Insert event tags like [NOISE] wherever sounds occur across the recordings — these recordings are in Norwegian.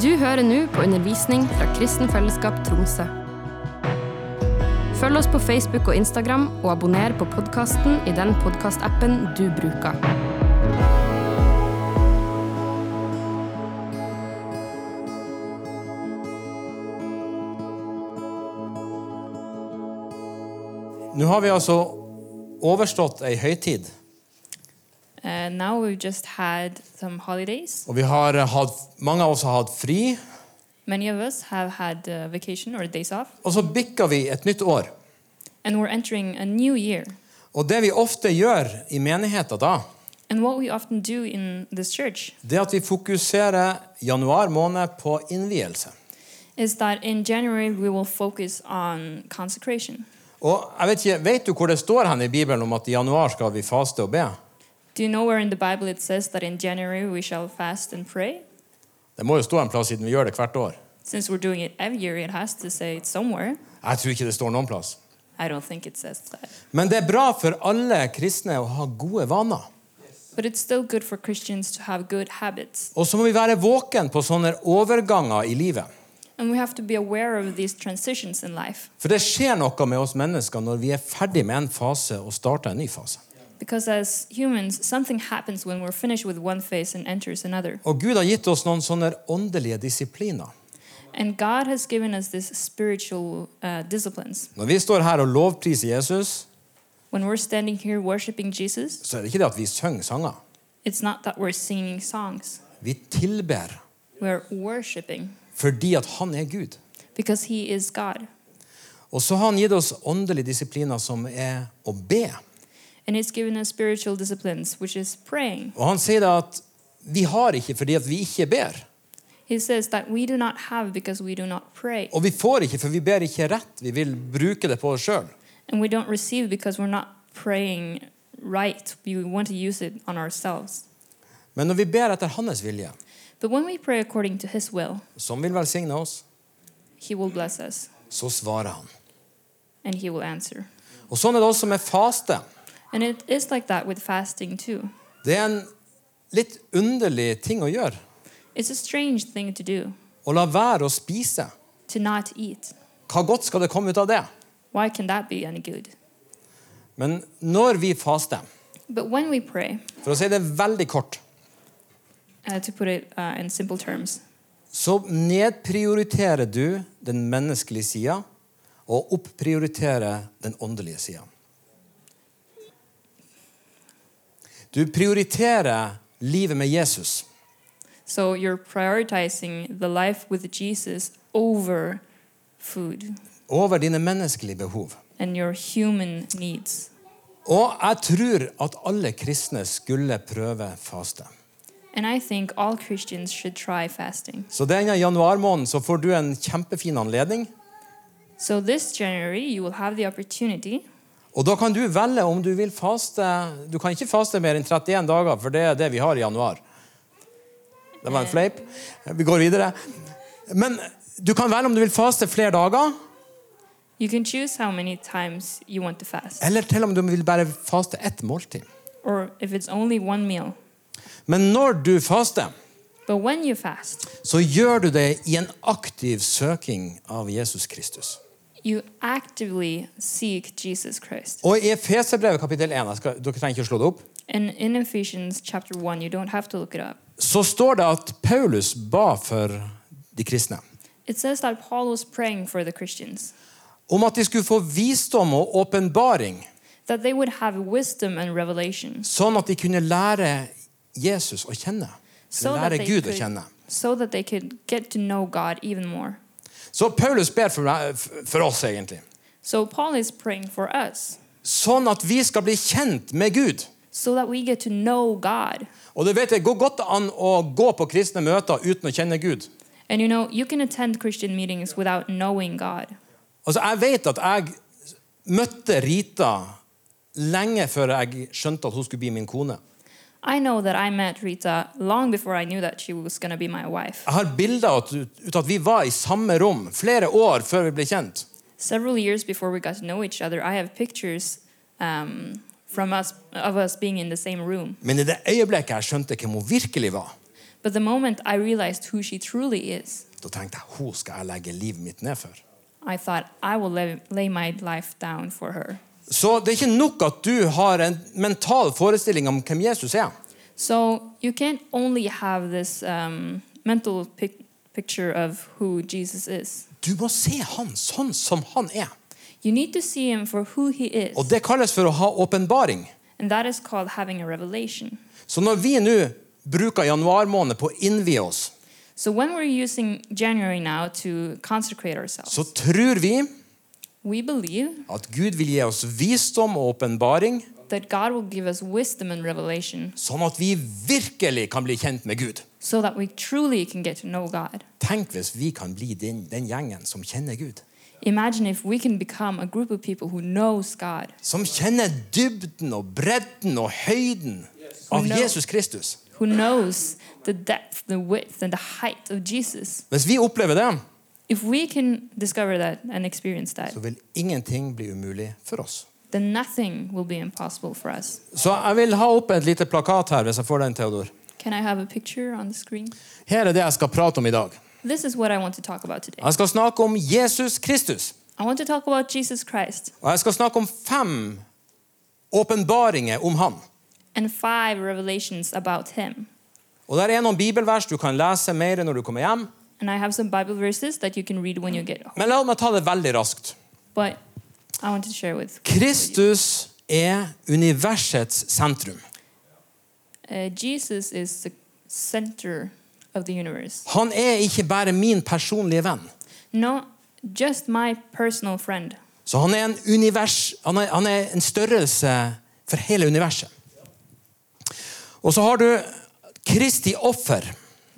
Du hører nå på undervisning fra Kristen Fellesskap Tromsø. Følg oss på Facebook og Instagram, og abonner på podkasten i den podkastappen du bruker. Nå har vi altså overstått ei høytid, Uh, now we've just had some holidays. og vi har hatt, mange av oss har hatt fri. Many of us have had uh, vacation or days off, Og så bikker vi et nytt år. and we're entering a new year. Og det vi ofte gjør i menigheten da, And what we often do in this church det er at vi fokuserer januar måned på innvielse. is that in January we will focus on consecration. Og jeg Vet ikke, vet du hvor det står hen i Bibelen om at i januar skal vi faste og be? Do you know where in the Bible it says that in January we shall fast and pray? Det må jo stå en plass siden vi gjør det hvert år. Since we're doing it every year, it has to say it somewhere. Jeg tror ikke det står noen plass. I don't think it says that. Men det er bra for alle kristne å ha gode vaner. But it's still good for Christians to have good habits. Og så må vi være våken på sånne overganger i livet. And we have to be aware of these transitions in life. For det skjer noe med oss mennesker når vi er ferdig med en fase og starter en ny fase. Because as humans, something happens when we're finished with one phase and enters another. Og Gud har gitt oss noen sånne åndelige disipliner. And God has given us this spiritual uh, disciplines. Når vi står her og lovpriser Jesus, When we're standing here worshiping Jesus, så er det ikke det at vi synger sanger. it's not that we're singing songs, Vi tilber we're worshiping fordi at han er Gud. because He is God. Og så har han gitt oss åndelige disipliner som er å be. And He's given us spiritual disciplines, which is praying. Og han sier da at vi har ikke fordi at vi ikke ber. He says that we do not have because we do not pray, Og vi får ikke, for vi ber ikke rett. Vi vil bruke det på oss sjøl. and we don't receive because we're not praying right. We want to use it on ourselves. Men når vi ber etter hans vilje, But when we pray according to His will, som vil velsigne oss, He will bless us. så svarer han. and he will answer. Og sånn er det også med faste. And it is like that with fasting too. Det er en litt underlig ting å gjøre. It's a strange thing to do, Å la være å spise. to not eat. Hva godt skal det komme ut av det? Why can that be any good? Men når vi faster But when we pray, For å si det veldig kort, uh, to put it uh, in simple terms, så nedprioriterer du den menneskelige sida og opprioriterer den åndelige sida. Du prioriterer livet med Jesus. so you're prioritizing the life with Jesus over food over dine menneskelige behov. and your human needs. Og jeg tror at alle kristne skulle prøve faste. And I think all Christians should try fasting. Så denne januarmåneden så får du en kjempefin anledning. So this January, you will have the opportunity. Og da kan du velge om du vil faste Du kan ikke faste mer enn 31 dager, for det er det vi har i januar. Det var en fleip. Vi går videre. Men du kan velge om du vil faste flere dager, You can choose how many times you want to fast, eller til om du vil bare faste ett måltid. or if it's only one meal. Men når du faster, But when you fast, så gjør du det i en aktiv søking av Jesus Kristus. you actively seek Jesus Christ. Og i Efeserbrevet kapittel 1 jeg skal, dere trenger ikke å slå det opp, And in Ephesians chapter 1, you don't have to look it up. så står det at Paulus ba for de kristne It says that Paul was praying for the Christians, om at de skulle få visdom og åpenbaring, that they would have wisdom and revelation sånn at de kunne lære Jesus å kjenne. so that, lære they Gud å could, kjenne. so that they could get to know God even more. Så Paulus ber for, meg- for oss, egentlig. So Paul is praying for us Sånn at vi skal bli kjent med Gud. so that we get to know God. Og du vet, Det går godt an å gå på kristne møter uten å kjenne Gud. And you know, you can attend Christian meetings without knowing God. Altså, Jeg vet at jeg møtte Rita lenge før jeg skjønte at hun skulle bli min kone. I know that I met Rita long before I knew that she was going to be my wife. Jeg har bilder av at- ut av at vi var i samme rom flere år før vi ble kjent. several years before we got to know each other, I have pictures um, from us of us being in the same room. Men i det øyeblikket jeg skjønte hvem hun virkelig var, But the moment I realized who she truly is, Da tenkte jeg hun skal jeg legge livet mitt ned for. I thought I will lay, lay my life down for her. Så det er ikke nok at du har en mental forestilling om hvem Jesus er. So you can't only have this um, mental pic- picture of who Jesus is. Du må se han sånn som han er. You need to see him for who he is, Og det kalles for å ha åpenbaring. and that is called having a revelation. Så når vi nå bruker januar måned på å innvie oss, So when we're using January now to consecrate ourselves, så tror vi we believe at Gud vil gi oss visdom og åpenbaring, that God will give us wisdom and revelation sånn at vi virkelig kan bli kjent med Gud. so that we truly can get to know God. Tenk hvis vi kan bli den, den gjengen som kjenner Gud. Imagine if we can become a group of people who knows God, Som kjenner dybden og bredden og høyden av No. Jesus Kristus. who knows the depth, the width, and the height of Jesus. Hvis vi opplever det, If we can discover that and experience that, så vil ingenting bli umulig for oss. then nothing will be impossible for us. Så jeg vil ha opp et lite plakat her, hvis jeg får den, Theodor. Can I have a picture on the screen? Her er det jeg skal prate om i dag. This is what I want to talk about today. Jeg skal snakke om Jesus Kristus. I want to talk about Jesus Christ Og jeg skal snakke om fem åpenbaringer om han. and five revelations about him. Og der er noen bibelvers du kan lese mer når du kommer hjem. And I have some Bible verses that you can read when you get home. Men la meg ta det veldig raskt. But I want to share with Kristus er universets sentrum. uh, Jesus is the center of the universe. Han er ikke bare min personlige venn. Not just my personal friend. Så han er en, univers, han er, han er en størrelse for hele universet. Og så har du Kristi offer.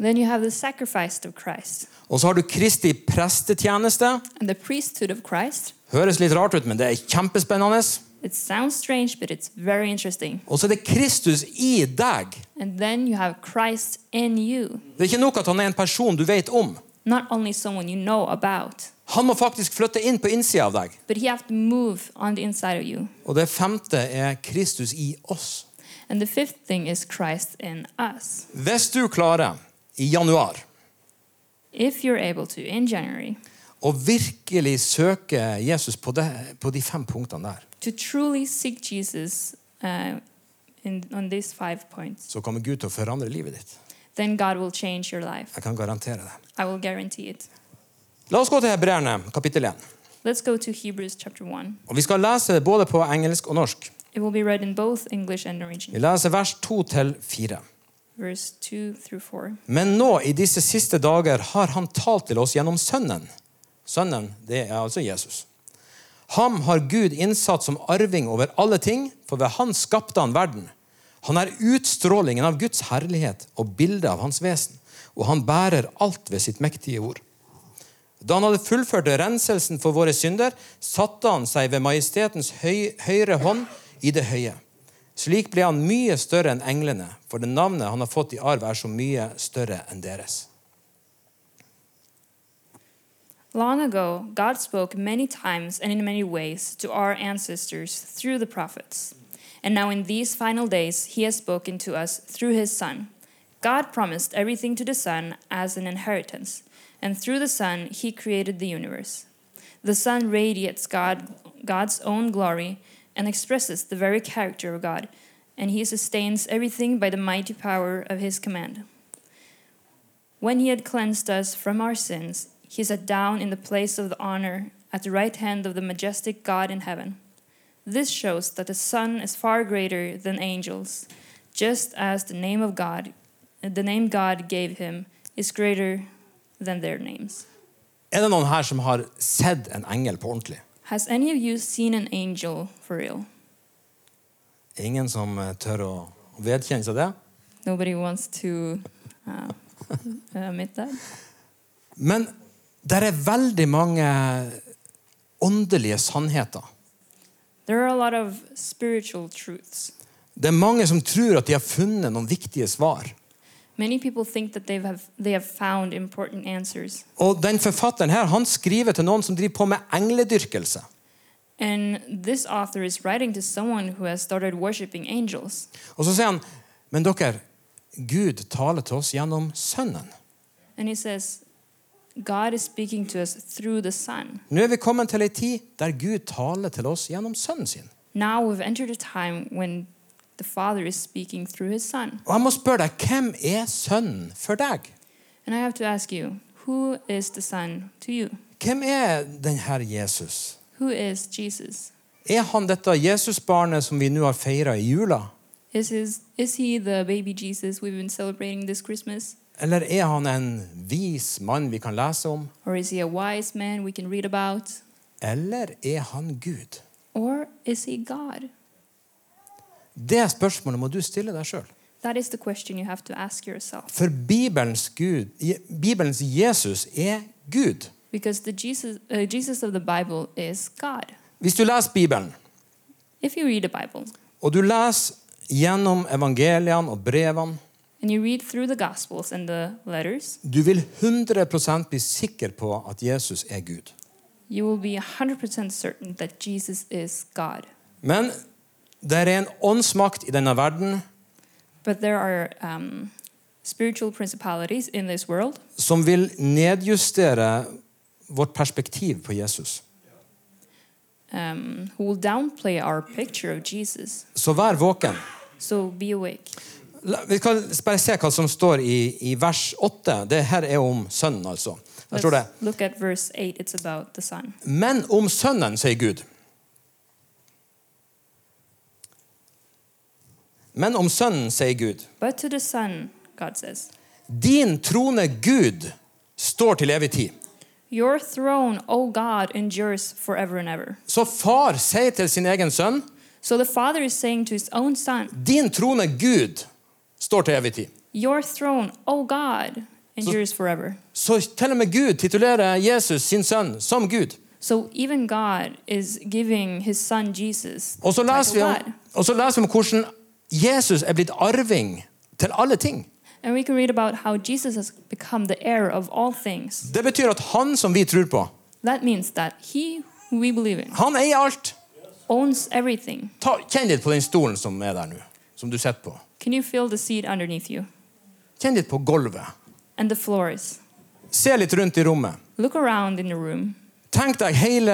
Then you have the sacrifice of Christ Og så har du Kristi prestetjeneste. and the priesthood of Christ. Høres litt rart ut, men det er kjempespennende. It sounds strange, but it's very interesting. Og så er det Kristus i deg. And then you have Christ in you, Det er ikke nok at han er en person du vet om. not only someone you know about, Han må faktisk flytte inn på innsida av deg. but he have to move on the inside of you. Og det femte er Kristus i oss. And the fifth thing is Christ in us. Hvis du klarer i januar If you're able to in January å virkelig søke Jesus på, det, på de fem punktene der, to truly seek Jesus uh, in, on these five points, så kommer Gud til å forandre livet ditt. then God will change your life. Jeg kan garantere det. I will guarantee it. La oss gå til Hebreerne, kapittel 1. Let's go to Hebrews chapter 1. Og vi skal lese det både på engelsk og norsk. It will be read in both English and Norwegian, Vi leser vers 2 til 4. verse 2 through 4. Men nå, i disse siste dager, har han talt til oss gjennom Sønnen. Sønnen, det er altså Jesus. Ham har Gud innsatt som arving over alle ting, for ved han skapte han verden. Han er utstrålingen av Guds herlighet og bildet av hans vesen, og han bærer alt ved sitt mektige ord. Da han hadde fullført renselsen for våre synder, satte han seg ved majestetens høy, høyre hånd i det høye. Slik ble han mye større enn englene, for det navnet han har fått i arv, er så mye større enn deres. Long ago, God spoke many times and in many ways to our ancestors through the prophets. And now, in these final days, He has spoken to us through His Son. God promised everything to the Son as an inheritance, and through the Son, He created the universe. The Son radiates God, God's own glory and expresses the very character of God, and He sustains everything by the mighty power of His command. When he had cleansed us from our sins, he sat down in the place of the honor at the right hand of the majestic God in heaven. This shows that the Son is far greater than angels, just as the name of God, the name God gave him, is greater than their names. Er det noen her som har sett en engel på ordentlig? Has any of you seen an angel for real? Ingen som eh, tør å vedkjenne seg det? Nobody wants to uh, [LAUGHS] admit that. Men der er veldig mange åndelige sannheter. There are a lot of spiritual truths. Det er mange som tror at de har funnet noen viktige svar. Many people think that they have they have found important answers, Og den forfatteren her, han skriver til noen som driver på med engledyrkelse. and this author is writing to someone who has started worshiping angels, Og så sier han, men dere, Gud taler til oss gjennom Sønnen. And he says, God is speaking to us through the Son. Nå er vi kommet til ei tid der Gud taler til oss gjennom Sønnen sin. Now we've entered a time when the Father is speaking through his Son. Og jeg må spørre deg, hvem er Sønnen for deg? And I have to ask you, who is the Son to you? Hvem er denne Jesus? Who is Jesus? Er han dette Jesusbarnet som vi nå har feira i jula? Is, his, is he the baby Jesus we've been celebrating this Christmas? Eller er han en vis mann vi kan lese om? Or is he a wise man we can read about? Eller er han Gud? Or is he God? Det spørsmålet må du stille deg sjøl. That is the question you have to ask yourself. For Bibelens, Gud, Je- Bibelens Jesus er Gud. Because the Jesus, uh, Jesus of the Bible is God. Hvis du leser Bibelen, If you read the Bible og du leser gjennom evangeliene og brevene, and you read through the Gospels and the letters, du vil 100 bli sikker på at Jesus er Gud. you will be 100% certain that Jesus is God. Men det er en åndsmakt i denne verden But there are um, spiritual principalities in this world som vil nedjustere vårt perspektiv på Jesus. um, who will downplay our picture of Jesus. Så vær våken. So be awake. La- Vi kan bare se hva som står i, i vers 8. Det her er om sønnen, altså. Der står det Let's look at verse 8. It's about the Son. Men om sønnen, sier Gud. Men om sønnen, sier Gud. But to the Son, God says, Din trone, Gud, står til evig tid. Your throne, O God, endures forever and ever. Så far sier til sin egen sønn So the Father is saying to his own Son, Din trone, Gud, står til evig tid. Your throne, O God, endures forever. Så til og med Gud titulerer Jesus sin sønn som Gud. So even God is giving his Son Jesus. the Og så title leser vi God. om, og så leser vi om hvordan Jesus er blitt arving til alle ting. And we can read about how Jesus has become the heir of all things. Det betyr at han som vi tror på, That means that he who we believe in han eier alt. owns everything. Ta, kjenn litt på den stolen som er der nå, som du sitter på. Can you feel the seat underneath you Kjenn litt på gulvet. and the floors? Se litt rundt i rommet. Look around in the room. Tenk deg hele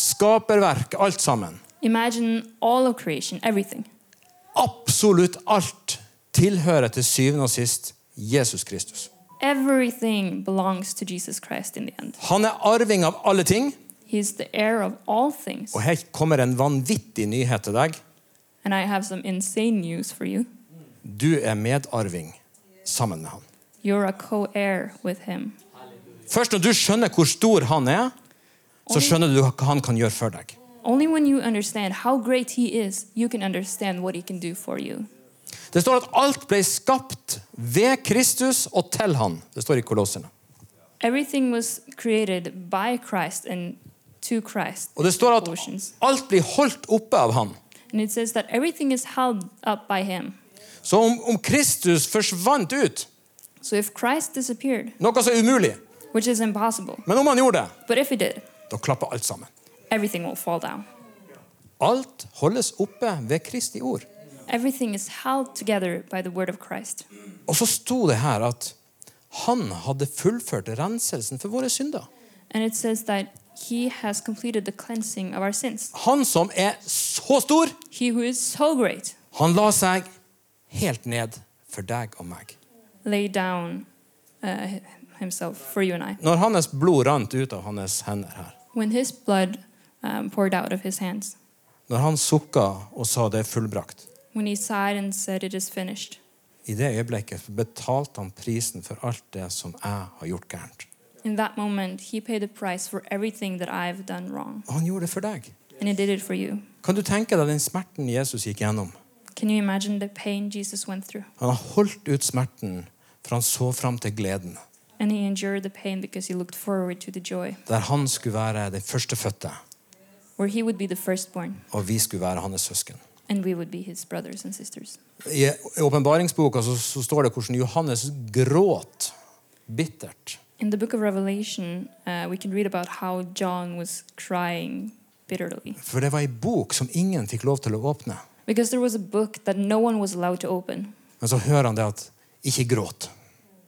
skaperverk, alt sammen. Imagine all of creation, everything. Absolutt alt tilhører til syvende og sist Jesus Kristus. Everything belongs to Jesus Christ in the end. Han er arving av alle ting. He's the heir of all things. Og her kommer en vanvittig nyhet til deg. And I have some insane news for you. Du er medarving sammen med han. You're a co heir with him. Først når du skjønner hvor stor han er, så skjønner du hva han kan gjøre for deg. Only when you understand how great he is, you can understand what he can do for you. Det står at alt ble skapt ved Kristus og til han. Det står i Kolossene. Everything was created by Christ and to Christ. Og det står at Colossians. alt blir holdt oppe av han. And it says that everything is held up by him. Så om, om Kristus forsvant ut, So if Christ disappeared, noe så umulig, which is impossible, men om han gjorde det, but if he did, da klapper alt sammen. everything will fall down. Alt holdes oppe ved Kristi ord. Everything is held together by the word of Christ. Og så sto det her at han hadde fullført renselsen for våre synder. And it says that he has completed the cleansing of our sins. Han som er så stor, He who is so great han la seg helt ned for deg og meg. laid down uh, himself for you and I. Når hans blod rant ut av hans hender her, When his blood um, poured out of his hands, når han sukka og sa det er fullbrakt, when he sighed and said, It is finished. i det øyeblikket betalte han prisen for alt det som jeg har gjort gærent. In that moment, he paid the price for everything that I've done wrong, Og han gjorde det for deg. and he did it for you. Kan du tenke deg den smerten Jesus gikk gjennom? Can you imagine the pain Jesus went through? Han har holdt ut smerten, for han så fram til gleden, And he endured the pain because he looked forward to the joy, der han skulle være den førstefødte, where he would be the firstborn, og vi skulle være hans søsken. and we would be his brothers and sisters. I åpenbaringsboka så, så står det hvordan Johannes gråt bittert. In the book of Revelation, uh, we can read about how John was crying bitterly For det var ei bok som ingen fikk lov til å åpne. because there was a book that no one was allowed to open. Men så hører han det at Ikke gråt.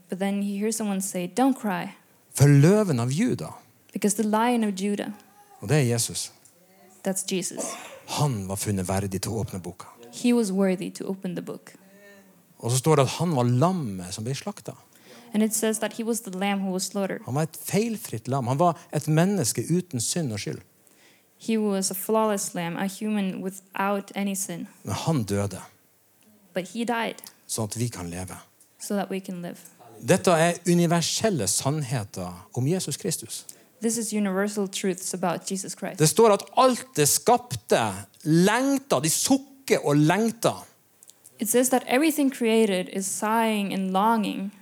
But then you hear someone say, Don't cry, For løven av Juda, because the lion of Judah, og det er Jesus, that's Jesus, han var funnet verdig til å åpne boka. he was worthy to open the book. Og så står det at han var lammet som ble slakta. And it says that he was the lamb who was slaughtered. Han var et feilfritt lam. Han var et menneske uten synd og skyld. He was a flawless lamb, a human without any sin. Men han døde, But he died sånn at vi kan leve. so that we can live. Dette er universelle sannheter om Jesus Kristus. This is universal truths about Jesus Christ. Det står at alt det skapte lengta. De sukker og lengta It says that everything created is sighing and longing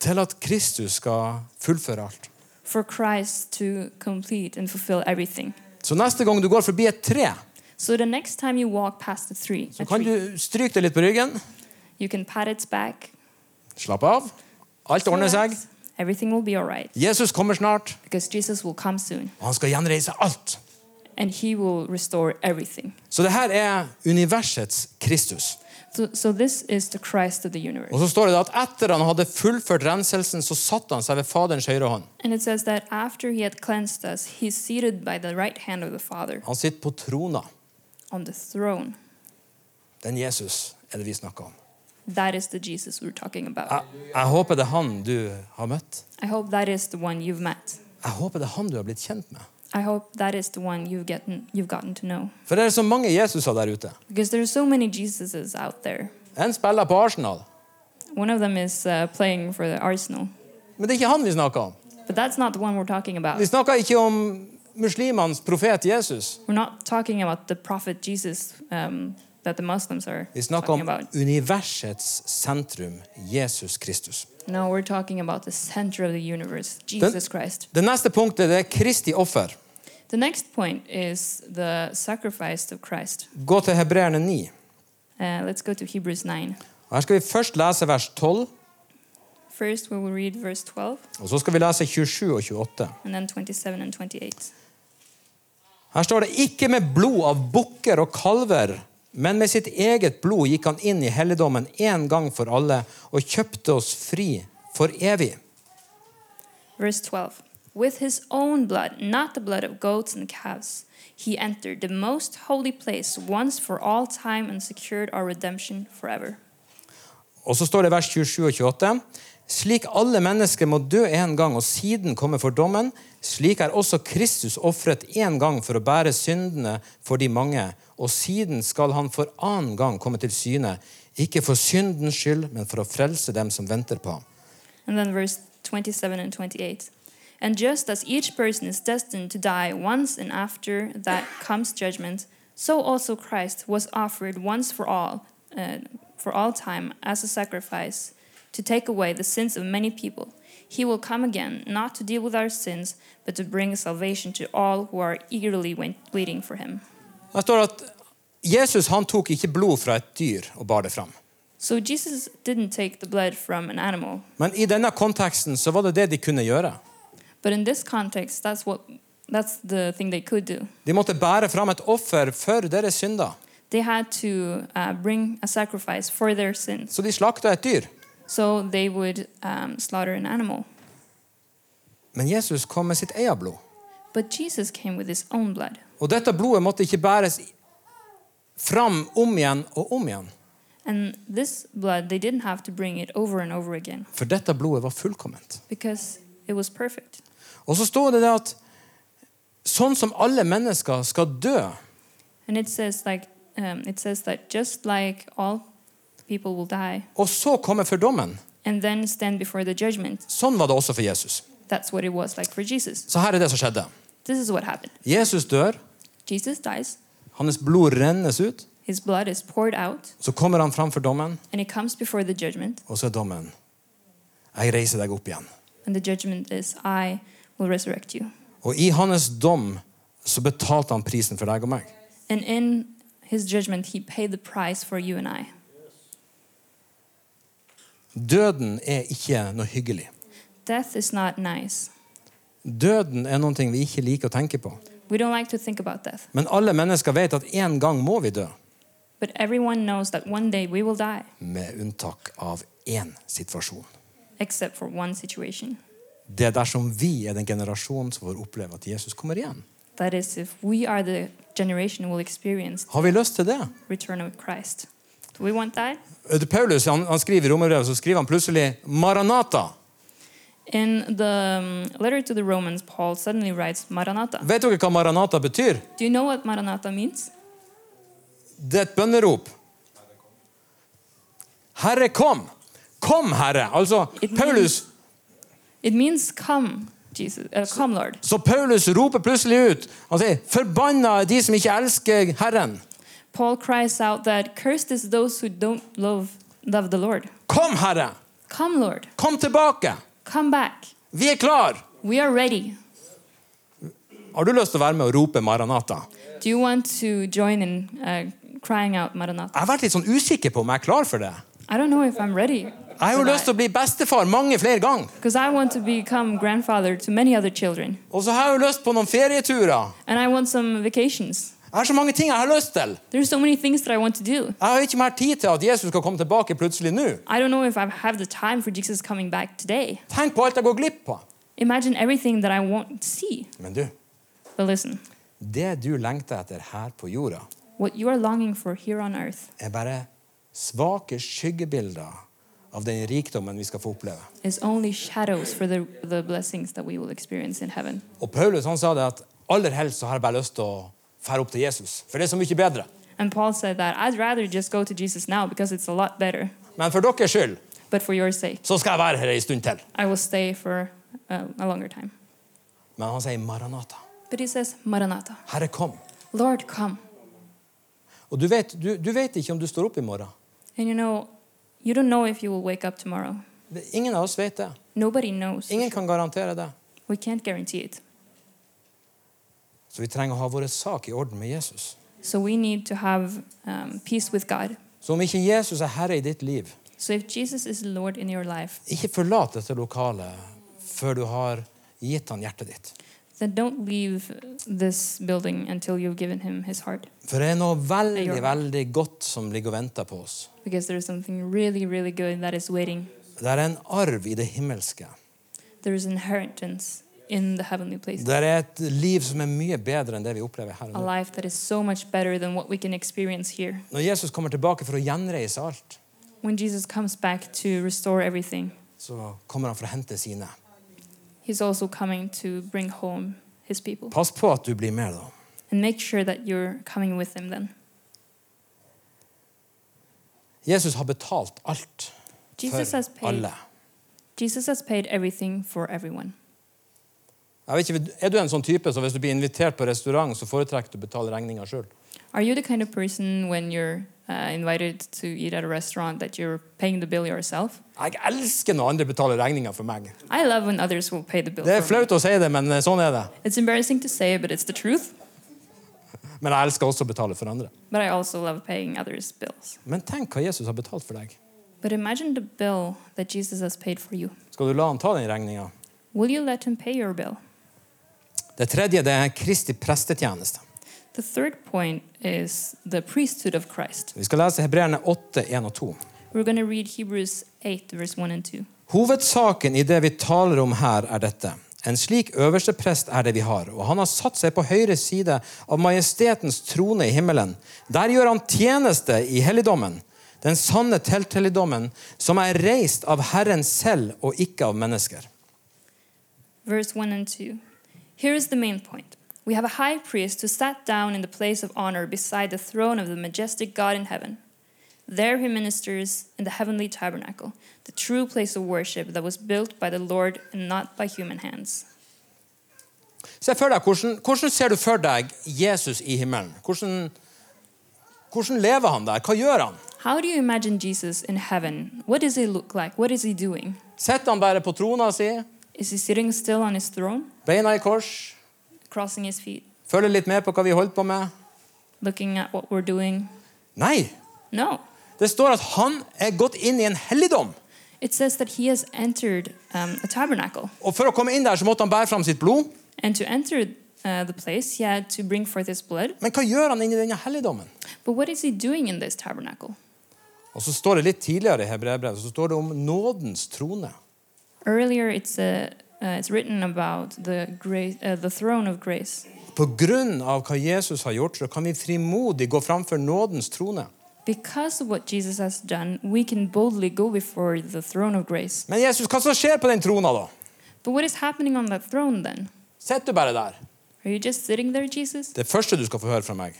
til at Kristus skal fullføre alt. for Christ to complete and fulfill everything. Så neste gang du går forbi et tre, So the next time you walk past the tree, så a kan tree, du stryke det litt på ryggen. you can pat its back. Slapp av. Alt ordner seg. relax. Everything will be all right Jesus kommer snart. because Jesus will come soon og Han skal gjenreise alt. and he will restore everything. Så det her er universets Kristus. So, so this is the Christ of the universe. Og så står det at etter han hadde fullført renselsen, så satte han seg ved Faderens høyre hånd. And it says that after he had cleansed us, he's seated by the right hand of the Father Han sitter på trona. on the throne. Den Jesus er det vi snakker om. That is the Jesus we're talking about. Jeg, jeg håper det er han du har møtt. I hope that is the one you've met. Jeg håper det er han du har blitt kjent med. I hope that is the one you've gotten, you've gotten to know. For det er så mange Jesuser der ute. Because there are so many Jesuses out there. En spiller på Arsenal. One of them is uh, playing for the Arsenal. Men det er ikke han vi snakker om. But that's not the one we're talking about. Vi snakker ikke om muslimenes profet Jesus. We're not talking about the prophet Jesus um, that the Muslims are Vi snakker talking om about. universets sentrum, Jesus Kristus. No, we're talking about the center of the universe, Jesus Christ. Det neste punktet det er Kristi offer. The next point is the sacrifice of Christ. Gå til Hebreerne 9. Uh, let's go to Hebrews 9. Her skal vi først lese vers 12, First, we will read verse 12 og så skal vi lese 27 og 28. and then 27 and 28. Her står det ikke med blod av bukker og kalver, men med sitt eget blod gikk han inn i helligdommen en gang for alle og kjøpte oss fri for evig. Verse 12 With his own blood, not the blood of goats and calves, he entered the most holy place once for all time and secured our redemption forever. Og så står det i vers 27 og 28. Slik alle mennesker må dø en gang og siden komme for dommen, slik er også Kristus ofret en gang for å bære syndene for de mange, og siden skal han for annen gang komme til syne, ikke for syndens skyld, men for å frelse dem som venter på ham. And then verse 27 and 28. And just as each person is destined to die once and after that comes judgment, so also Christ was offered once for all, uh, for all time, as a sacrifice to take away the sins of many people. He will come again, not to deal with our sins, but to bring salvation to all who are eagerly wait- waiting for him. Der står det at Jesus han tok ikke blod fra et dyr og bar det fram. So Jesus didn't take the blood from an animal, Men i denne konteksten så var det det de kunne gjøre. but in this context, that's what that's the thing they could do. De måtte bære fram et offer for deres synder. they had to uh, bring a sacrifice for their sins. Så de slakta et dyr. So they would um, slaughter an animal. Men Jesus kom med sitt eget blod. But Jesus came with his own blood. Og dette blodet måtte ikke bæres fram om igjen og om igjen. And this blood, they didn't have to bring it over and over again For dette blodet var fullkomment. because it was perfect. Og så står det det at sånn som alle mennesker skal dø, And it says, like, um, it says that just like all people will die og så komme for dommen, and then stand before the judgment, sånn var det også for Jesus. that's what it was like for Jesus. Så her er det som skjedde. This is what happened. Jesus dør, Jesus dies, hans blod rennes ut, his blood is poured out, så kommer han fram for dommen, and it comes before the judgment. og så er dommen Jeg reiser deg opp igjen. And the judgment is, I will resurrect you. Og i hans dom så betalte han prisen for deg og meg. And in his judgment, he paid the price for you and I. Døden er ikke noe hyggelig. Death is not nice. Døden er noe vi ikke liker å tenke på. We don't like to think about death, Men alle mennesker vet at en gang må vi dø. but everyone knows that one day we will die, med unntak av én situasjon. except for one situation. Det er dersom vi er den generasjonen som får oppleve at Jesus kommer igjen. That is, if we are the generation who will experience Har vi lyst til det? return of Christ. Do we want that? Det Paulus han, han skriver i Romerbrevet så skriver han plutselig 'Maranata'. In the um, letter to the Romans, Paul suddenly writes Maranatha. Vet dere hva Maranata betyr? Do you know what Maranatha means? Det er et bønnerop. Herre, kom! Kom, Herre! Altså, It Paulus, It means come, Jesus, uh, come, Lord. så Paulus roper plutselig ut. Han sier 'Forbanna er de som ikke elsker Herren'. Paul cries out that cursed is those who don't love, love the Lord. Kom, Herre! Come, Lord. Kom tilbake! Come back. Vi er klar! We are ready. Har du lyst til å være med og rope 'Maranata'? Do you want to join in uh, crying out Maranatha? Jeg har vært litt sånn usikker på om jeg er klar for det. I don't know if I'm ready. Jeg har jo lyst til å bli bestefar mange flere ganger. Because I want to become grandfather to many other children. Og så har jeg jo lyst på noen ferieturer. And I want some vacations. Jeg har så mange ting jeg har lyst til. There's so many things that I want to do. Jeg har jo ikke mer tid til at Jesus skal komme tilbake plutselig nå. I don't know if I have the time for Jesus coming back today. Tenk på alt jeg går glipp av. Imagine everything that I won't see. Men du, But listen, det du lengter etter her på jorda, what you are longing for here on earth er bare svake skyggebilder av den rikdommen vi skal få oppleve. is only shadows for the, the blessings that we will experience in heaven. Og Paulus han sa det at aller helst så har jeg bare lyst til å fære opp til Jesus, for det er så mye bedre. And Paul said that I'd rather just go to Jesus now because it's a lot better. Men for deres skyld But for your sake, så skal jeg være her ei stund til. I will stay for uh, a longer time. Men han sier Maranata. But he says, Maranatha, Herre, kom. Lord, come. Og du vet, du, du vet ikke om du står opp i morgen. And you know, you don't know if you will wake up tomorrow. Det- Ingen av oss vet det. Nobody knows. Ingen kan garantere det. We can't guarantee it. Så vi trenger å ha vår sak i orden med Jesus. So we need to have um, peace with God. Så om ikke Jesus er herre i ditt liv, So if Jesus is Lord in your life, ikke forlat dette lokalet før du har gitt han hjertet ditt. then don't leave this building until you've given him his heart. For det er noe veldig, Jeg gjør veldig godt som ligger og venter på oss. Because there's something really, really good that is waiting. Det er en arv i det himmelske. There is inheritance in the heavenly place. Det er et liv som er mye bedre enn det vi opplever her A og nå. life that is so much better than what we can experience here. Når Jesus kommer tilbake for å gjenreise alt, When Jesus comes back to restore everything, så kommer han for å hente sine. he's also coming to bring home his people. Pass på at du blir med, da. And make sure that you're coming with him then. Jesus har betalt alt Jesus has for paid alle. Jesus has paid everything for everyone. Jeg vet ikke, Er du en sånn type som hvis du blir invitert på restaurant, så foretrekker du å betale regninga sjøl? Are you the kind of person when you're uh, invited to eat at a restaurant that you're paying the bill yourself? Jeg elsker når andre betaler regninga for meg. I love when others will pay the bill. Det er for me. flaut å si det, men sånn er det. It's embarrassing to say, but it's the truth. Men jeg elsker også å betale for andre. But I also love paying others' bills. Men tenk hva Jesus har betalt for deg. But imagine the bill that Jesus has paid for you. Skal du la han ta den regninga? Will you let him pay your bill? Det tredje det er Kristi prestetjeneste. The third point is the priesthood of Christ. Vi skal lese Hebreerne 8, 1 og 2. We're going to read Hebrews 8, verse 1 and 2. Hovedsaken i det vi taler om her, er dette. En slik øverste prest er det vi har, og han har satt seg på høyre side av majestetens trone i himmelen. Der gjør han tjeneste i helligdommen, den sanne telthelligdommen, som er reist av Herren selv og ikke av mennesker. verse 1 and 2. Here is the main point. We have a high priest who sat down in the place of honor beside the throne of the majestic God in heaven. There he ministers in the heavenly tabernacle, the true place of worship that was built by the Lord and not by human hands. Se for deg, hvordan, hvordan ser du for deg Jesus i himmelen? Hvordan, hvordan lever han der? Hva gjør han? How do you imagine Jesus in heaven? What does he look like? What is he doing? Sitter han bare på trona si, Is he sitting still on his throne, beina i kors, crossing his feet, følger litt med på hva vi holder på med? looking at what we're doing? Nei, No. Det står at han er gått inn i en helligdom. It says that he has entered um, a tabernacle. Og for å komme inn der så måtte han bære fram sitt blod. And to enter uh, the place, he had to bring forth his blood. Men hva gjør han inni denne helligdommen? But what is he doing in this tabernacle? Og så står det litt tidligere i Hebreabrevet så står det om nådens trone. Earlier, it's, uh, uh, it's written about the, grace, uh, the throne of grace. På grunn av hva Jesus har gjort, så kan vi frimodig gå framfor nådens trone. Because of what Jesus has done, we can boldly go before the throne of grace. Men Jesus, hva som skjer på den trona, da? But what is happening on that throne then? Sitter du bare der? Are you just sitting there, Jesus? Det første du skal få høre fra meg,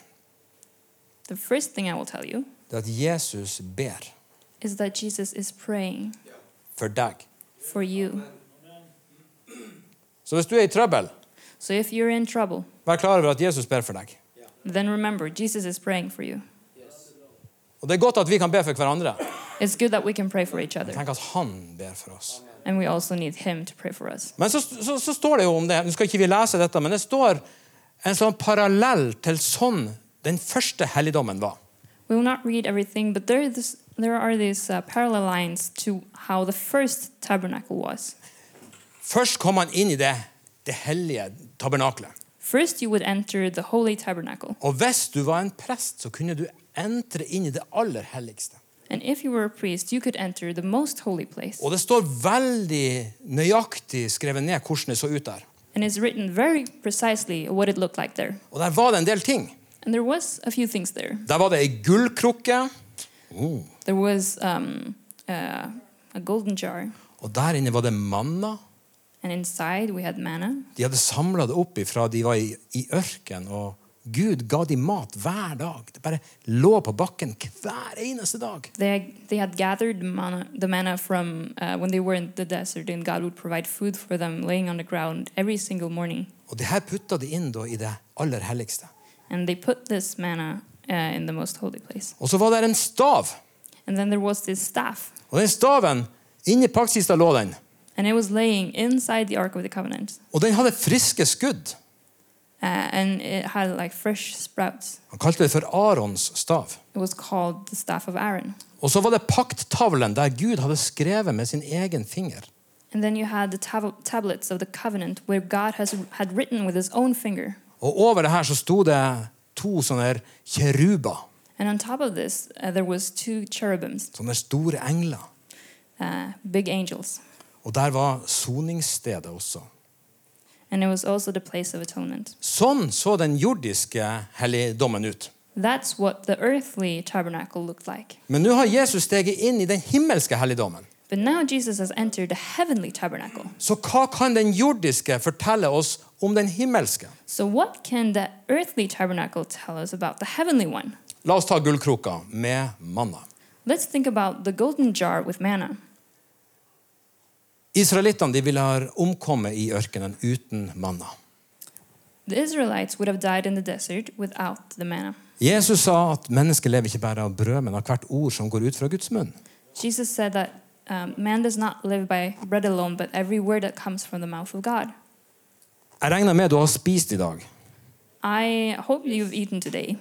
The first thing I will tell you det er at Jesus ber is that Jesus is praying for deg. for you. Så hvis du er i trøbbel, So if you're in trouble, vær klar over at Jesus ber for deg. then remember Jesus is praying for you. Og det er godt at vi kan be for hverandre. It's good that we can pray for each other, Tenk at han ber for oss. and we also need Him to pray for us. Men så, så, så står det jo om det Nå skal ikke vi lese dette, men det står en sånn parallell til sånn den første helligdommen var. We will not read everything, but there, is, there are these uh, parallel lines to how the first tabernacle was. Først kom han inn i det, det hellige tabernaklet. First, you would enter the holy tabernacle, Og hvis du var en prest, så kunne du entre inn i det aller helligste. and if you were a priest, you could enter the most holy place. Og det står veldig nøyaktig skrevet ned hvordan det så ut der. And it's written very precisely what it looked like there. Og der var det en del ting. And there was a few things there. Der var det ei gullkrukke, There was um, uh, a golden jar, og der inne var det manna. and inside we had manna. De hadde samla det opp ifra de var i, i ørken, og Gud ga de mat hver dag. Det bare lå på bakken hver eneste dag. They, they had gathered manna, the manna from uh, when they were in the desert, and God would provide food for them laying on the ground every single morning. Og det her putta de inn da i det aller helligste. And they put this manna uh, in the most holy place. Og så var der en stav. And then there was this staff, Og den staven, inni paktkista lå den. and it was laying inside the Ark of the Covenant. Og den hadde friske skudd. Uh, and it had like fresh sprouts. Han kalte det for Arons stav. It was called the staff of Aaron. Og så var det pakttavlen der Gud hadde skrevet med sin egen finger. And then you had the tab- tablets of the covenant where God has had written with his own finger. Og over det her så sto det to sånne her kjeruber. And on top of this, uh, there was two cherubims, Sånne store engler. uh, big angels. Og der var soningsstedet også. And it was also the place of atonement. Sånn så den jordiske helligdommen ut. That's what the earthly tabernacle looked like. Men nå har Jesus steget inn i den himmelske helligdommen. But now Jesus has entered the heavenly tabernacle. Så hva kan den jordiske fortelle oss om den himmelske? So, what can the earthly tabernacle tell us about the heavenly one? La oss ta gullkrukka med manna. Let's think about the golden jar with manna. Israelittene de ville ha omkommet i ørkenen uten manna. The Israelites would have died in the desert without the manna. Jesus sa at mennesket lever ikke bare av brød, men av hvert ord som går ut fra Guds munn. Jesus said that um, man does not live by bread alone, but every word that comes from the mouth of God. Jeg regner med du har spist i dag, I hope you've eaten today,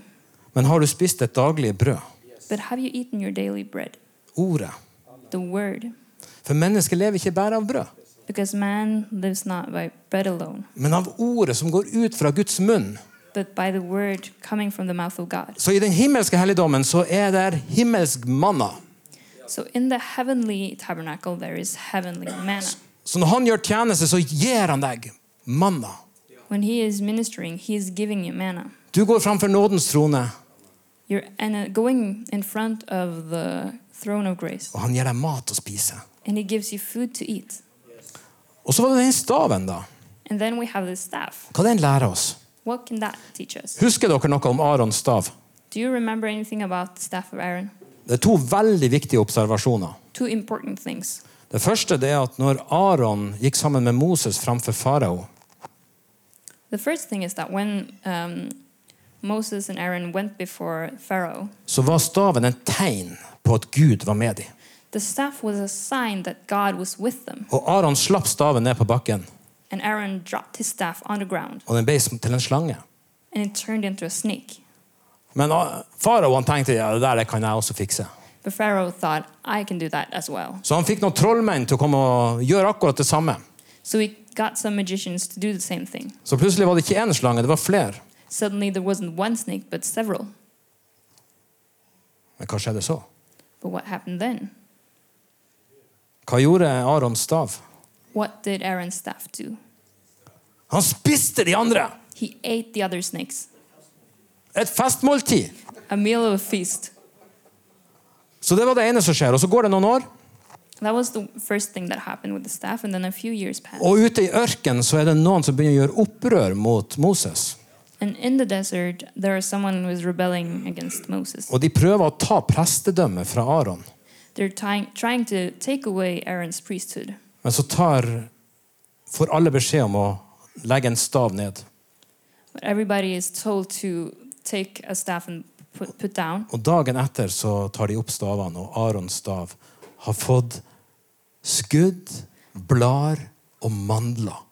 men har du spist et daglig brød? but have you eaten your daily bread? Ordet. The word. For mennesket lever ikke bare av brød, Because man lives not by bread alone, men av ordet som går ut fra Guds munn. but by the word coming from the mouth of God. Så i den himmelske helligdommen så er der himmelsk manna. So in the heavenly tabernacle, there is heavenly manna. Så når han gjør tjeneste, så gir han deg manna. When he is ministering, he is giving you manna. Du går framfor nådens trone, You're and, uh, going in front of the throne of grace, og han gir deg mat å spise. and he gives you food to eat. Og så var det den staven, da. And then we have the staff. Hva den lærer oss? What can that teach us? Husker dere noe om Arons stav? Do you remember anything about the staff of Aaron? Det er to veldig viktige observasjoner. Two important things. Det første det er at når Aron gikk sammen med Moses framfor farao, The first thing is that when um, Moses and Aaron went before Pharaoh, så var staven en tegn på at Gud var med dem. the staff was a sign that God was with them. Og Aron slapp staven ned på bakken, And Aaron dropped his staff on the ground, og den ble som til en slange. and it turned into a snake. Men ah, farao han tenkte ja, det der kan jeg også fikse. But Pharaoh thought, I can do that as well. Så han fikk noen trollmenn til å komme og gjøre akkurat det samme. So he got some magicians to do the same thing. Så plutselig var det ikke én slange, det var flere. Suddenly there wasn't one snake, but several. Men hva skjedde så? But what happened then? Hva gjorde Arons stav? What did Aaron's staff do? Han spiste de andre! He ate the other snakes. Et festmåltid! A meal of a feast. Så det var det ene som skjer. Og så går det noen år, That was the first thing that happened with the staff, and then a few years passed. og ute i ørkenen så er det noen som begynner å gjøre opprør mot Moses. And in the desert, there is someone who is rebelling against Moses. Og de prøver å ta prestedømmet fra Aron. They're trying, trying to take away Aaron's priesthood, Men så tar, får alle beskjed om å legge en stav ned. but everybody is told to take a staff and put, put down. Og dagen etter så tar de opp stavene, og Arons stav har fått skudd, blar og mandler.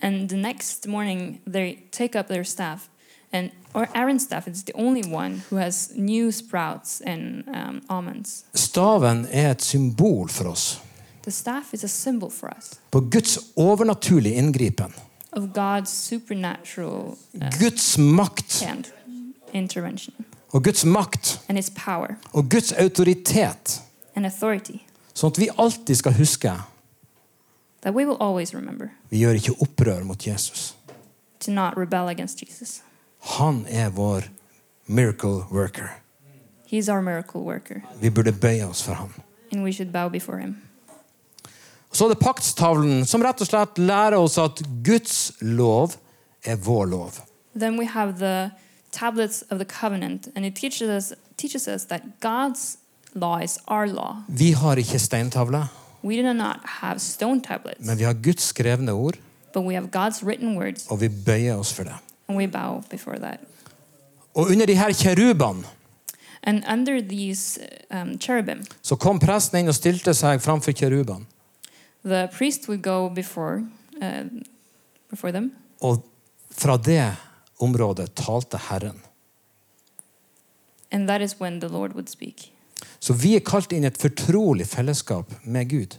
And the next morning, they take up their staff, and or Aaron's staff is the only one who has new sprouts and um, almonds. Staven er et symbol for oss The staff is a symbol for us på Guds overnaturlige inngripen. of God's supernatural uh, Guds makt hand intervention og Guds makt and His power og Guds autoritet, and authority sånn at vi alltid skal huske that we will always remember. vi gjør ikke opprør mot Jesus. to not rebel against Jesus. Han er vår miracle worker. He's our miracle worker, Vi burde bøye oss for ham. and we should bow before him. Så er det paktstavlen, som rett og slett lærer oss at Guds lov er vår lov. Then we have the tablets of the covenant, and it teaches us teaches us that God's law is our law. Vi har ikke steintavle, We do not have stone tablets, men vi har Guds skrevne ord, but we have God's written words, og vi bøyer oss for det. and we bow before that. Og under de her kjerubene And under these um, cherubim, så kom presten inn og stilte seg framfor kjerubene. the priest would go before uh, before them, Og fra det området talte Herren. and that is when the Lord would speak. Så vi er kalt inn i et fortrolig fellesskap med Gud.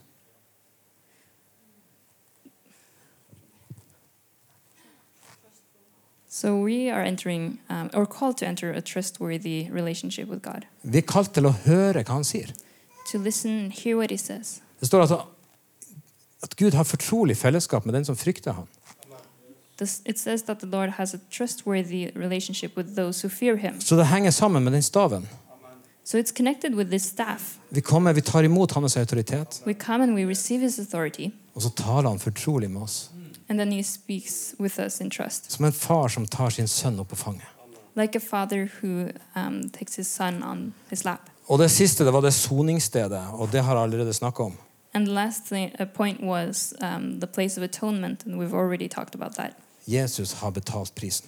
So we are entering, um, or called to enter, a trustworthy relationship with God. Vi er kalt til å høre hva han sier. to listen and hear what he says. Det står altså at Gud har fortrolig fellesskap med den som frykter ham. This, it says that the Lord has a trustworthy relationship with those who fear him. Så det henger sammen med den staven. So it's connected with this staff. Vi kommer, vi tar imot hans autoritet, We come and we receive his authority, og så taler han fortrolig med oss. and then he speaks with us in trust, Som en far som tar sin sønn opp på fanget. like a father who um, takes his son on his lap. Og det siste det var det soningsstedet, og det har jeg allerede snakka om. And the last thing, uh, point was um, the place of atonement, and we've already talked about that. Jesus har betalt prisen.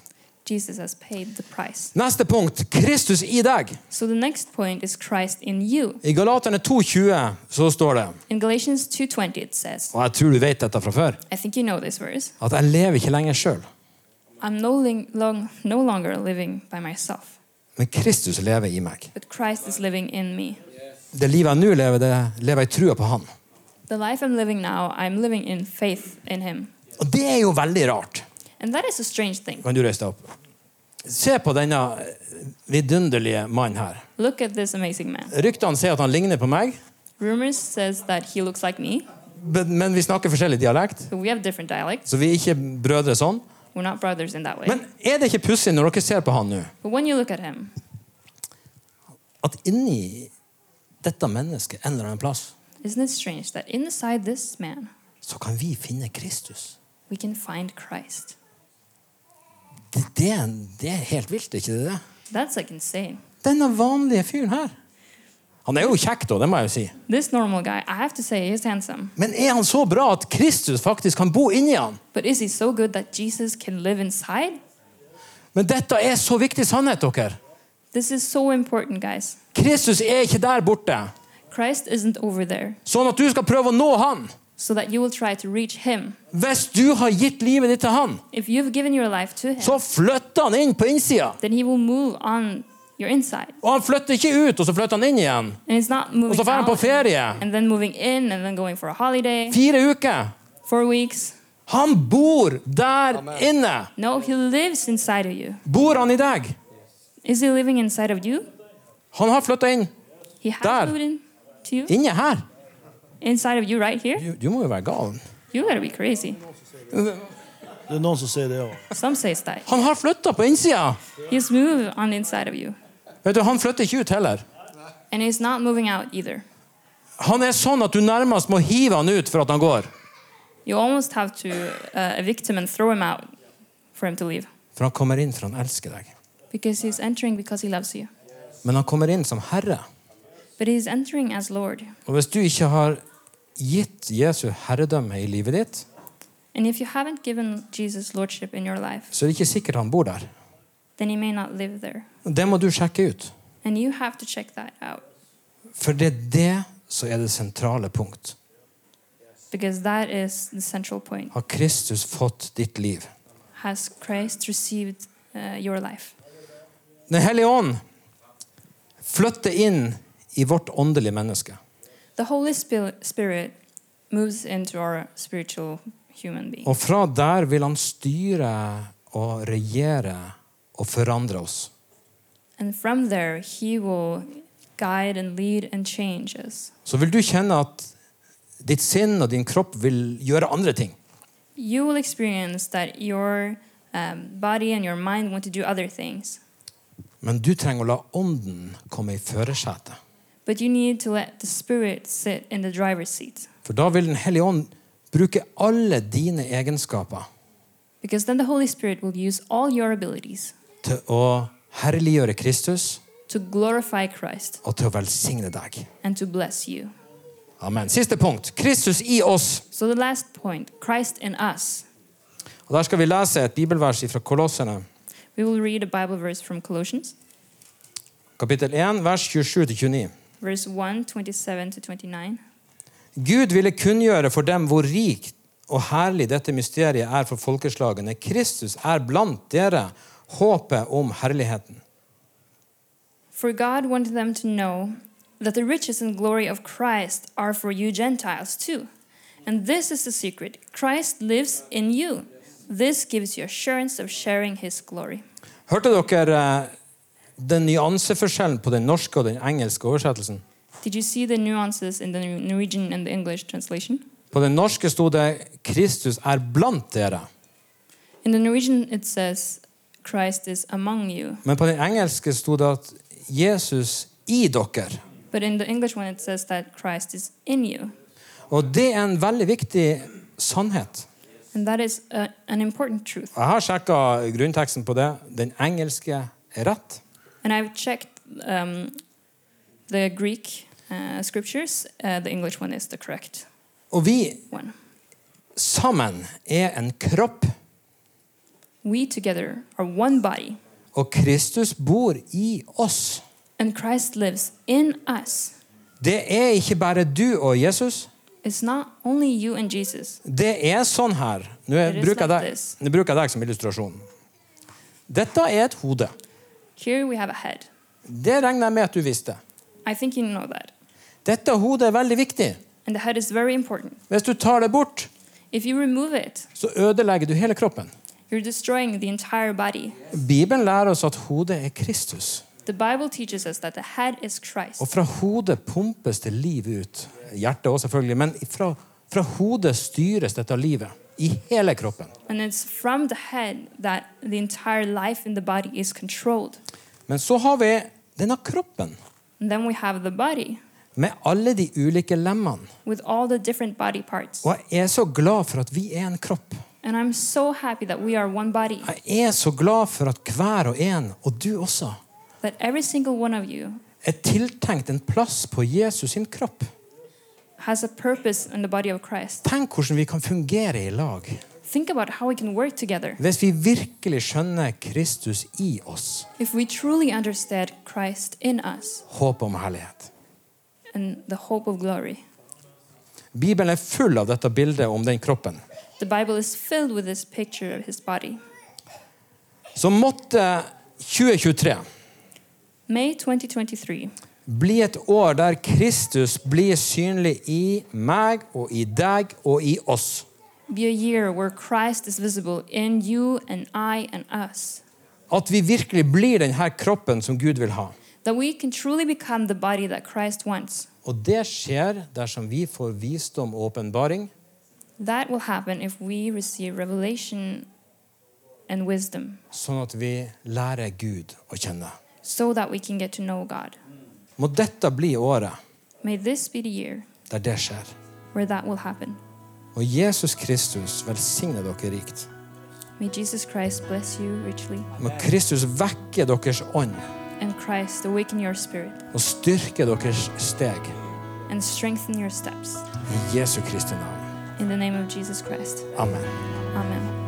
Jesus has paid the price. Neste punkt Kristus i deg. So the next point is Christ in you. I Galaterne 2,20 så står det, In Galatians 2:20 it says, og jeg tror du vet dette fra før, I think you know this verse. at jeg lever ikke lenger sjøl, I'm no, ling- long, no longer living by myself, men Kristus lever i meg. but Christ is living in me. Det livet jeg nå lever, det lever jeg i trua på Han. The life I'm living now, I'm living in faith in Him. Og det er jo veldig rart. And that is a strange thing. Kan du reise deg opp? Se på denne vidunderlige mannen her. Look at this amazing man. Ryktene sier at han ligner på meg, Rumors says that he looks like me, men men vi snakker forskjellig dialekt, but we have different dialects. så vi er ikke brødre sånn. We're not brothers in that way. Men er det ikke pussig når dere ser på han nå, But when you look at him, at inni dette mennesket en eller annen plass, isn't it strange that inside this man, så kan vi finne Kristus? we can find Christ? Det, det, det er helt vilt, er ikke det det? That's like insane. Denne vanlige fyren her. Han er jo kjekk, da, det må jeg jo si. This normal guy, I have to say, he's handsome. Men er han så bra at Kristus faktisk kan bo inni han? But is he so good that Jesus can live inside? Men dette er så viktig sannhet, dere. This is so important, guys. Kristus er ikke der borte. Christ isn't over there, Sånn at du skal prøve å nå han. so that you will try to reach him. Hvis du har gitt livet ditt til han, If you've given your life to him, så flytter han inn på innsida. then he will move on your inside. Og han flytter ikke ut, og så flytter han inn igjen. And it's not Og så moving drar han på out ferie. and then moving in and then going for a holiday. Fire uker. Four weeks? Han bor der inne! No, he lives inside of you. Bor han i deg? Is he living inside of you? Han har flytta inn. He has Där. moved in to you? Inne her. Inside of you right here? Du, du må jo være gal. You gotta be crazy. Det er noen som sier det òg. Some say that. Han har flytta på innsida! He's moved on the inside of you. Vet du, Han flytter ikke ut heller. And he's not moving out either. Han er sånn at du nærmest må hive han ut for at han går. You almost have to uh, evict him and throw him out for him to leave. For han kommer inn for han elsker deg. Because he's entering because he loves you. Men han kommer inn som herre. But he's entering as Lord. Og hvis du ikke har gitt Jesu herredømme i livet ditt, And if you haven't given Jesus Lordship in your life, så er det ikke sikkert han bor der. then he may not live there. Det må du sjekke ut. And you have to check that out. For det er det som er det sentrale punkt. Because that is the central point. Har Kristus fått ditt liv? Has Christ received uh, your life? Den hellige ånd flytter inn i vårt åndelige menneske. The Holy Spil- Spirit moves into our spiritual human being. Og fra der vil han styre og regjere og forandre oss. And from there, he will guide and lead and change us. Så vil du kjenne at ditt sinn og din kropp vil gjøre andre ting. You will experience that your um, body and your mind want to do other things, Men du trenger å la ånden komme i førersetet. but you need to let the Spirit sit in the driver's seat. For da vil Den hellige ånd bruke alle dine egenskaper Because then the Holy Spirit will use all your abilities til å herliggjøre Kristus to glorify Christ og til å velsigne deg. and to bless you. Amen. Siste punkt. Kristus i oss. So, the last point Christ in us. Og Der skal vi lese et bibelvers fra Kolossene, We will read a Bible verse from Colossians, kapittel 1, vers 27-29. verse 1 27 to 29. Gud ville kunngjøre for dem hvor rikt og herlig dette mysteriet er for folkeslagene. Kristus er blant dere, håpet om herligheten. For God wanted them to know that the riches and glory of Christ are for you Gentiles too. And this is the secret Christ lives in you. This gives you assurance of sharing his glory. Hørte dere eh, den nyanseforskjellen på den norske og den engelske oversettelsen? Did you see the nuances in the Norwegian and the English translation? På den norske sto det 'Kristus er blant dere', In the Norwegian, it says, Christ is among you. men på den engelske sto det at 'Jesus i dere'. But in the English one, it says that Christ is in you. Og det er en veldig viktig sannhet. And that is a, an important truth. Jeg har sjekka grunnteksten på det. Den engelske er rett. And I've checked um, the Greek uh, scriptures, uh, the English one is the correct Og vi one. sammen er en kropp, We together are one body, og Kristus bor i oss. and Christ lives in us. Det er ikke bare du og Jesus. It's not only you and Jesus. Det er sånn her. Nå er- It is bruker jeg like deg, this. nå bruker jeg deg som illustrasjon. Dette er et hode. Here we have a head. Det regner jeg med at du visste. I think you know that. Dette hodet er veldig viktig. And the head is very important. Hvis du tar det bort, If you remove it, så ødelegger du hele kroppen. you're destroying the entire body. Bibelen lærer oss at hodet er Kristus. The Bible teaches us that the head is Christ. Og fra hodet pumpes det liv ut. Hjertet òg, selvfølgelig. Men fra, fra hodet styres dette livet. I hele kroppen. And it's from the head that the entire life in the body is controlled. Men så har vi denne kroppen And then we have the body med alle de ulike lemmene. with all the different body parts. Og jeg er så glad for at vi er en kropp. And I'm so happy that we are one body, Jeg er så glad for at hver og en, og du også, that every single one of you er tiltenkt en plass på Jesus sin kropp. has a purpose in the body of Christ. Tenk hvordan vi kan fungere i lag Think about how we can work together hvis vi virkelig skjønner Kristus i oss. if we truly understand Christ in us Håp om herlighet. and the hope of glory. Bibelen er full av dette bildet om den kroppen. The Bible is filled with this picture of his body. Så måtte 2023 May 2023 bli et år der Kristus blir synlig i meg og i deg og i oss. be a year where Christ is visible in you and I and us. At vi virkelig blir denne kroppen som Gud vil ha. That we can truly become the body that Christ wants. Og det skjer dersom vi får visdom og åpenbaring, That will happen if we receive revelation and wisdom sånn at vi lærer Gud å kjenne. so that we can get to know God. Må dette bli året May this be the year der det skjer. where that will happen. Og Jesus Kristus velsigne dere rikt. May Jesus Christ bless you richly Må Kristus vekke deres ånd and Christ awaken your spirit og styrke deres steg and strengthen your steps. i Jesu Kristi navn. In the name of Jesus Christ. Amen. Amen.